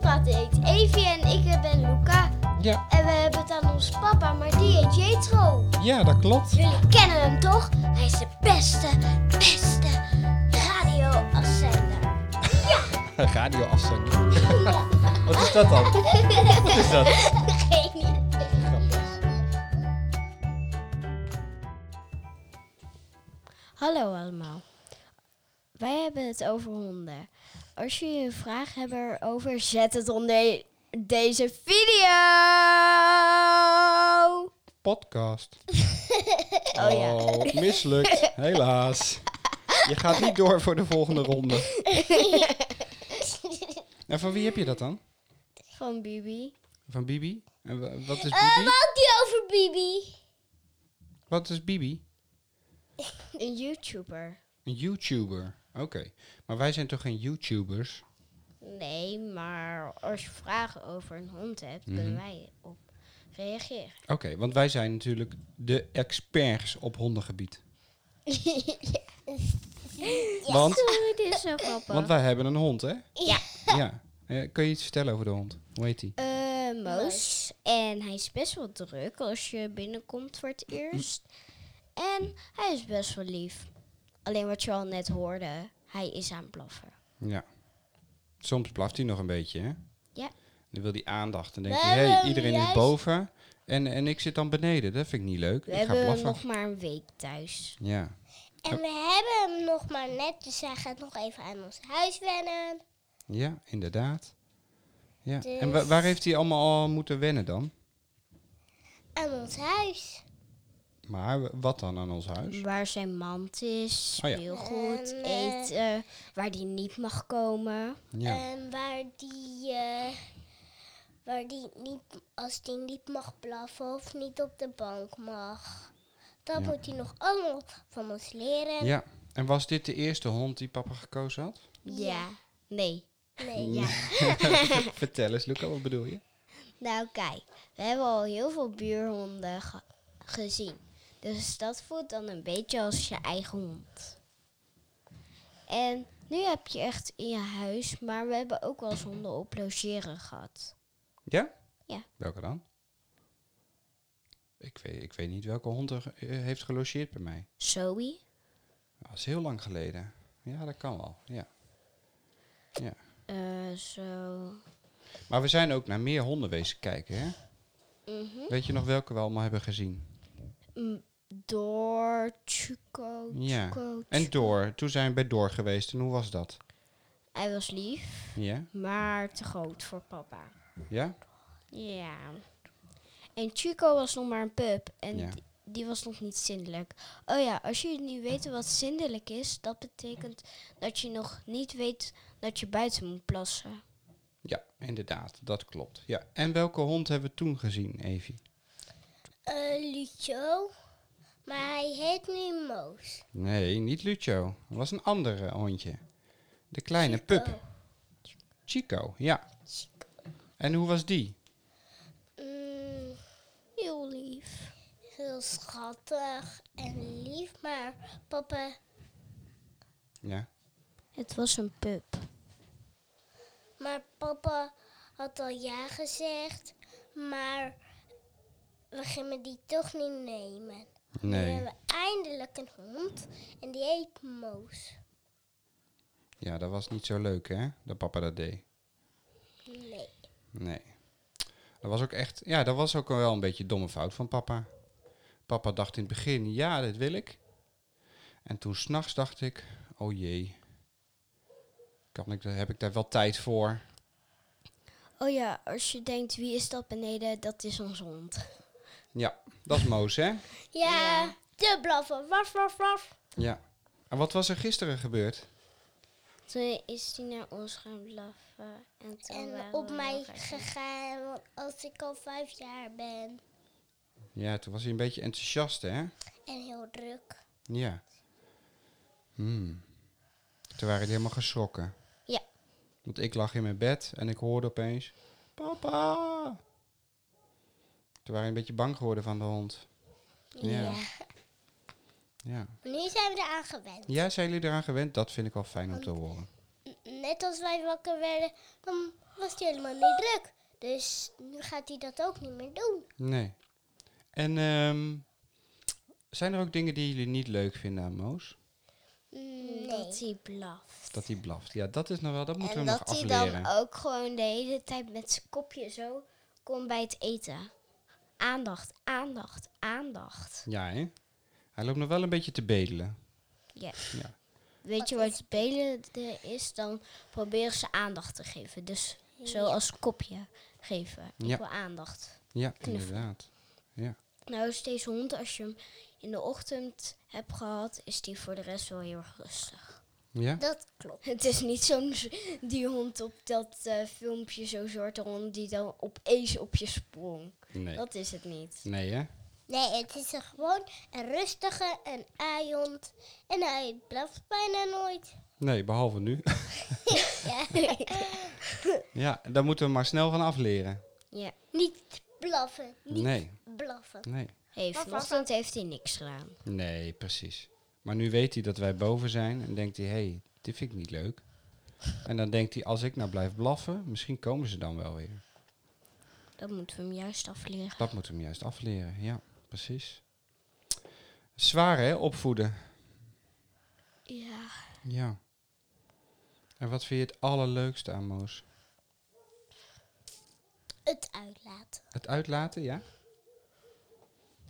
gaat eet. Evie en ik ben Luca. Ja, En we hebben het aan ons papa, maar die heet Jetro. ja, dat klopt. Jullie kennen hem toch? Hij is de beste, beste radioafzender. Radioafzender. Wat is dat dan? Wat is dat? Geen idee. Grappig. Hallo allemaal. Wij hebben het over honden. Als jullie een vraag hebben over, zet het onder deze video. Podcast. Oh ja. mislukt. Helaas. Je gaat niet door voor de volgende ronde. En van wie heb je dat dan? Van Bibi. Van Bibi? En wa- wat is Eh, Bibi? ook die over Bibi. Wat is Bibi? Een YouTuber. Een YouTuber. Oké. Maar wij zijn toch geen YouTubers? Nee, maar als je vragen over een hond hebt, kunnen Mhm. wij op reageren. Oké, want wij zijn natuurlijk de experts op hondengebied. Want, Oh, dit is zo grappig. want wij hebben een hond, hè? Ja. Ja. Eh, kun je iets vertellen over de hond? Hoe heet hij? Eh, Moos. En hij is best wel druk als je binnenkomt voor het eerst. En hij is best wel lief. Alleen wat je al net hoorde, hij is aan het blaffen. Ja. Soms blaft hij nog een beetje, hè? Ja. Dan wil hij aandacht. Dan denk We hij, hé, hebben hey, iedereen is juist- boven en, en ik zit dan beneden. Dat vind ik niet leuk. We ik ga hebben blaffen. nog maar een week thuis. Ja. En we hebben hem nog maar net, dus hij gaat nog even aan ons huis wennen. ja, inderdaad. Ja. En wa- Dus- waar heeft hij allemaal al moeten wennen dan? Aan ons huis. Maar w- wat dan aan ons huis? Waar zijn mand is, Oh ja. speelgoed, En, eh, eten, waar die niet mag komen. Ja. En Ehm, waar die, eh, waar die niet, als die niet mag blaffen of niet op de bank mag. Dat Ja. moet hij nog allemaal van ons leren. ja. En was dit de eerste hond die papa gekozen had? Ja. Nee. Nee, Vertel eens, Luca, wat bedoel je? Nou kijk, we hebben al heel veel buurhonden ge- gezien. Dus dat voelt dan een beetje als je eigen hond. En nu heb je echt in je huis, maar we hebben ook wel eens honden op logeren gehad. Ja? Ja. Welke dan? Ik weet, ik weet niet welke hond er eh, heeft gelogeerd bij mij. Zoe? Dat is heel lang geleden. Ja, dat kan wel. Ja. ja. Eh, zo. Maar we zijn ook naar meer hondenwezen kijken, hè? Mhm. Weet je nog welke we allemaal hebben gezien? Mm, Door, Chuco, Ja. Chuco, En Door. Toen zijn we bij Door geweest. En hoe was dat? Hij was lief, Ja? maar te groot voor papa. Ja? Ja. En Chico was nog maar een pup. En Ja. die, die was nog niet zindelijk. Oh ja, als jullie niet weten wat zindelijk is, dat betekent dat je nog niet weet dat je buiten moet plassen. Ja, inderdaad. Dat klopt. Ja. En welke hond hebben we toen gezien, Evie? eh Lucio. Maar hij heet nu Moos. Nee, niet Lucio. Dat was een andere hondje. De kleine pup. Chico, ja. En hoe was die? Mm, Heel lief. heel schattig en lief, maar papa, Ja. Het was een pup. maar papa had al ja gezegd, maar we gingen die toch niet nemen. We Nee. hebben eindelijk een hond en die heet Moos. Ja, dat was niet zo leuk, hè? Dat papa dat deed. Nee. Nee. Dat was ook echt, ja, dat was ook wel een beetje een domme fout van papa. Papa dacht in het begin, ja, dit wil ik. En toen s'nachts dacht ik, oh jee, kan ik, daar- heb ik daar wel tijd voor? Oh ja, als je denkt wie is dat beneden, dat is ons hond. Ja, dat is Moos, hè? Ja, te blaffen. Waf, waf, waf. Ja. En wat was er gisteren gebeurd? Toen is hij naar ons gaan blaffen. En, toen En waren op we mij nog echt- gegaan, want als ik al vijf jaar ben Ja, toen was hij een beetje enthousiast, hè? en heel druk. Ja. Hmm. Toen waren die helemaal geschrokken. Ja. Want ik lag in mijn bed en ik hoorde opeens... Papa! Toen waren we een beetje bang geworden van de hond. Ja. Ja. Nu zijn we eraan gewend. Ja, zijn jullie eraan gewend? Dat vind ik wel fijn om te horen. net als wij wakker werden, dan was hij helemaal niet druk. Dus nu gaat hij dat ook niet meer doen. Nee. En ehm, zijn er ook dingen die jullie niet leuk vinden aan Moos? Nee. Hmm, Mm, Dat hij blaft. Dat hij blaft. Ja, dat is nog wel, dat moeten en we hem dat nog hij afleren. dan ook gewoon de hele tijd met zijn kopje zo komt bij het eten. Aandacht, aandacht, aandacht. Ja, hè? Hij loopt nog wel een beetje te bedelen. Ja. Ja. Weet je wat spelen is? Dan proberen ze aandacht te geven. Dus zoals kopje geven. Ik Ja. wil aandacht. Ja, Knuffelen. inderdaad. Ja. Nou is deze hond, als je hem in de ochtend hebt gehad, is die voor de rest wel heel erg rustig. Ja? Dat klopt. Het is niet zo'n z- die hond op dat eh, filmpje, zo'n soort hond die dan opeens op je sprong. Nee. Dat is het niet. Nee, hè? Nee, het is een gewoon een rustige, een aaiond. En hij blaft bijna nooit. Nee, behalve nu. ja, daar moeten we maar snel van afleren. Ja. Niet blaffen, niet Nee, blaffen. nee. Hey, vanochtend heeft hij niks gedaan. Nee, precies. Maar nu weet hij dat wij boven zijn en denkt hij, hé, hey, dit vind ik niet leuk. En dan denkt hij, als ik nou blijf blaffen, misschien komen ze dan wel weer. Dat moeten we hem juist afleren. Dat moet hem juist afleren, ja, precies. Zwaar hè, opvoeden. Ja. Ja. En wat vind je het allerleukste aan Moos? Het uitlaten. Het uitlaten, ja?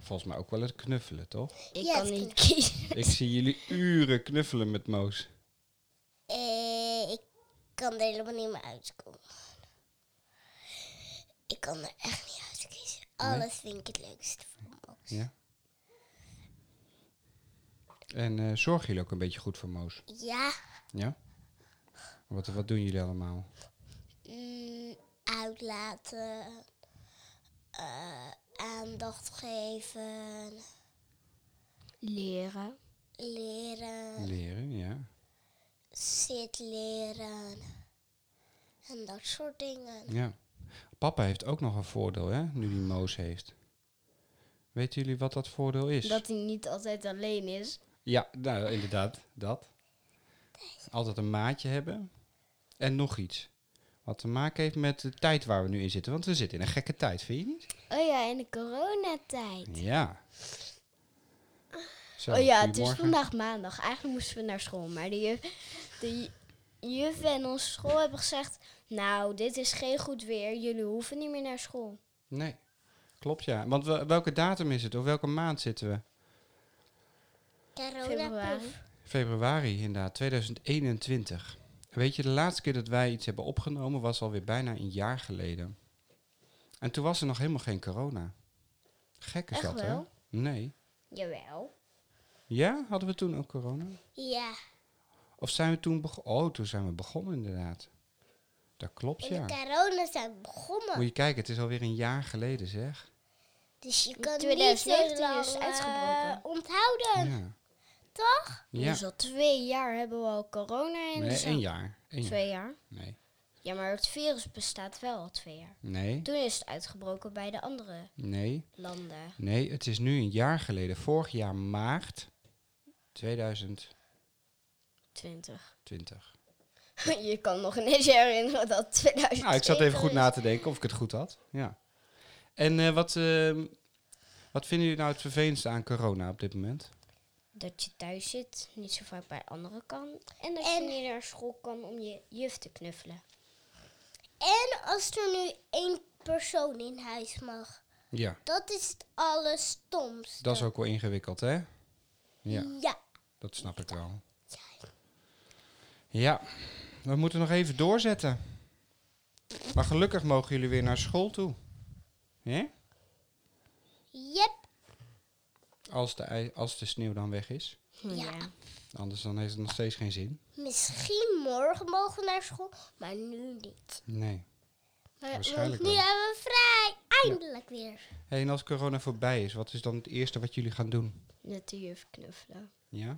Volgens mij ook wel het knuffelen, toch? Ik Ja, kan het niet kiezen. Ik zie jullie uren knuffelen met Moos. Eh, ik kan er helemaal niet meer uitkomen. Ik kan er echt niet uitkiezen. Alles vind ik het leukste van Moos. Ja. En eh zorgen jullie ook een beetje goed voor Moos? Ja, Ja? Wat, wat doen jullie allemaal? mm, uitlaten. eh, aandacht geven. Leren. Leren. Leren, ja. Zit leren. En dat soort dingen. ja. Papa heeft ook nog een voordeel, hè? Nu die Moos heeft. Weten jullie wat dat voordeel is? Dat hij niet altijd alleen is. Ja, nou, inderdaad, dat. Altijd een maatje hebben. En nog iets. Wat te maken heeft met de tijd waar we nu in zitten. Want we zitten in een gekke tijd, vind je niet? Oh ja, in de coronatijd. Ja. Zo, oh ja, het is goedemorgen. vandaag maandag. Eigenlijk moesten we naar school. Maar de juf, de ju- juf en onze school hebben gezegd... Nou, dit is geen goed weer. Jullie hoeven niet meer naar school. Nee, klopt ja. Want wel- welke datum is het? Of welke maand zitten we? Februari. Coronaproef. Februari inderdaad, 2021. Weet je, de laatste keer dat wij iets hebben opgenomen was alweer bijna een jaar geleden. En toen was er nog helemaal geen corona. Gek is Echt dat, wel? hè? Nee. Jawel. Ja, hadden we toen ook corona? Ja, Of zijn we toen begonnen? Oh, toen zijn we begonnen inderdaad. Dat klopt, in de ja. corona zijn Moet begonnen. je kijken, het is alweer een jaar geleden, zeg. Dus je kan niet zo 2019 lang is eh, uitgebroken. onthouden. Ja. Toch? Ja. Dus al twee jaar hebben we al corona in de Nee, zaal. één jaar. Eén jaar. Twee jaar. Nee. Ja, maar het virus bestaat wel al twee jaar. Nee. Toen is het uitgebroken bij de andere Nee. landen. Nee, het is nu een jaar geleden. Vorig jaar maart 2020. Twintig. Je kan nog ineens herinneren dat 2000. Nou, ik zat even goed na te denken of ik het goed had. Ja. En eh, wat, ehm, wat vinden jullie nou het vervelendste aan corona op dit moment? Dat je thuis zit, niet zo vaak bij anderen kan. En dat je En- niet naar school kan om je juf te knuffelen. En als er nu één persoon in huis mag. Ja, Dat is het allerstomste. dat is ook wel ingewikkeld, hè? Ja, Ja. dat snap ik wel. Ja, we moeten nog even doorzetten. Maar gelukkig mogen jullie weer naar school toe. Hè? Yep. Als de, ij- als de sneeuw dan weg is. Ja. Anders dan heeft het nog steeds geen zin. Misschien morgen mogen we naar school, maar nu niet. Nee. Maar, Waarschijnlijk want nu wel. hebben we vrij. Eindelijk weer. Hey, en als corona voorbij is, wat is dan het eerste wat jullie gaan doen? Net de juf knuffelen. Ja?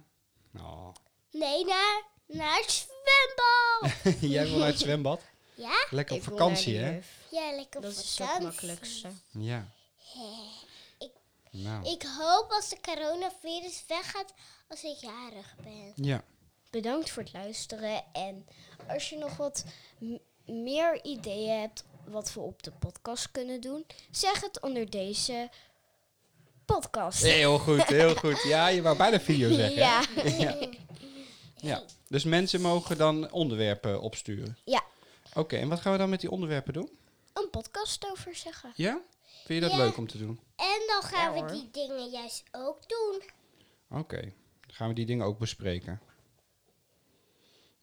Oh. Nee, naar, naar het zwembad. Jij wil naar het zwembad? ja? Lekker op Ik wil vakantie, naar eh, de hè? juf. Ja, lekker Dat op is het vakantie. makkelijkste. Ja. Ik- Nou. Ik hoop als de coronavirus weggaat als ik jarig ben. Ja. bedankt voor het luisteren. En als je nog wat m- meer ideeën hebt wat we op de podcast kunnen doen, zeg het onder deze podcast. Heel goed, heel goed. Ja, je wou bijna video zeggen. hè? Ja. ja. Ja, dus mensen mogen dan onderwerpen opsturen. Ja. Oké, en wat gaan we dan met die onderwerpen doen? Een podcast over zeggen. Ja? Vind je dat Ja. leuk om te doen? En dan Ja, gaan hoor. we die dingen juist ook doen. Oké, dan gaan we die dingen ook bespreken.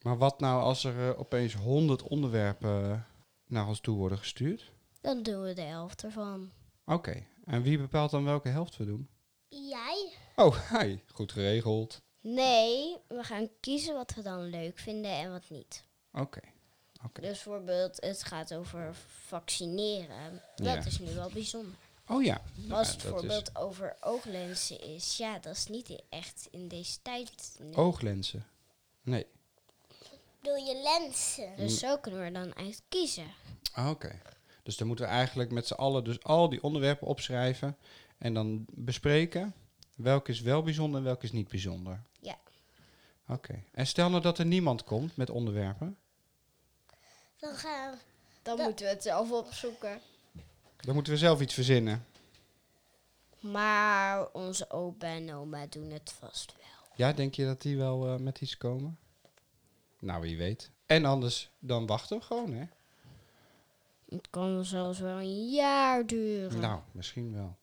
Maar wat nou als er eh, opeens honderd onderwerpen naar ons toe worden gestuurd? Dan doen we de helft ervan. Oké, en wie bepaalt dan welke helft we doen? Jij? Oh, hi, goed geregeld. Nee, we gaan kiezen wat we dan leuk vinden en wat niet. Oké, oké. Dus bijvoorbeeld, het gaat over vaccineren. Dat Ja. is nu wel bijzonder. Oh ja. Als Ja, het dat bijvoorbeeld is over ooglenzen is, ja, dat is niet i- echt in deze tijd. nu. ooglenzen. Nee. Doe je lenzen. Dus zo kunnen we er dan uit kiezen. Ah, Oké. Dus dan moeten we eigenlijk met z'n allen dus al die onderwerpen opschrijven en dan bespreken welke is wel bijzonder en welke is niet bijzonder. Ja. Oké. En stel nou dat er niemand komt met onderwerpen, Dan gaan we... Dan moeten we het zelf opzoeken. dan moeten we zelf iets verzinnen. Maar onze opa en oma doen het vast wel. Ja, denk je dat die wel eh, met iets komen? Nou, wie weet. En anders, dan wachten we gewoon, hè? Het kan zelfs wel een jaar duren. Nou, misschien wel.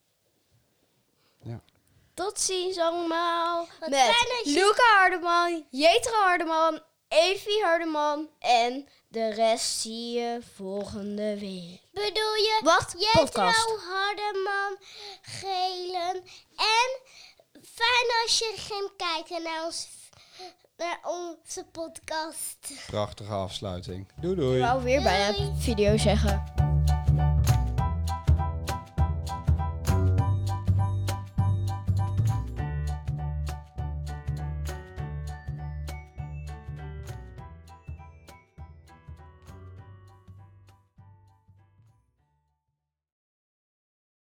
Tot ziens allemaal. fijn met dat je- Luca Hardeman, Jetra Hardeman, Evie Hardeman. En de rest zie je volgende week. Bedoel je... Wacht, podcast. Jetro, Hardeman, Gelen. En fijn als je ging kijken naar, ons, naar onze podcast. Prachtige afsluiting. Doei doei. Ik wou weer bijna video zeggen.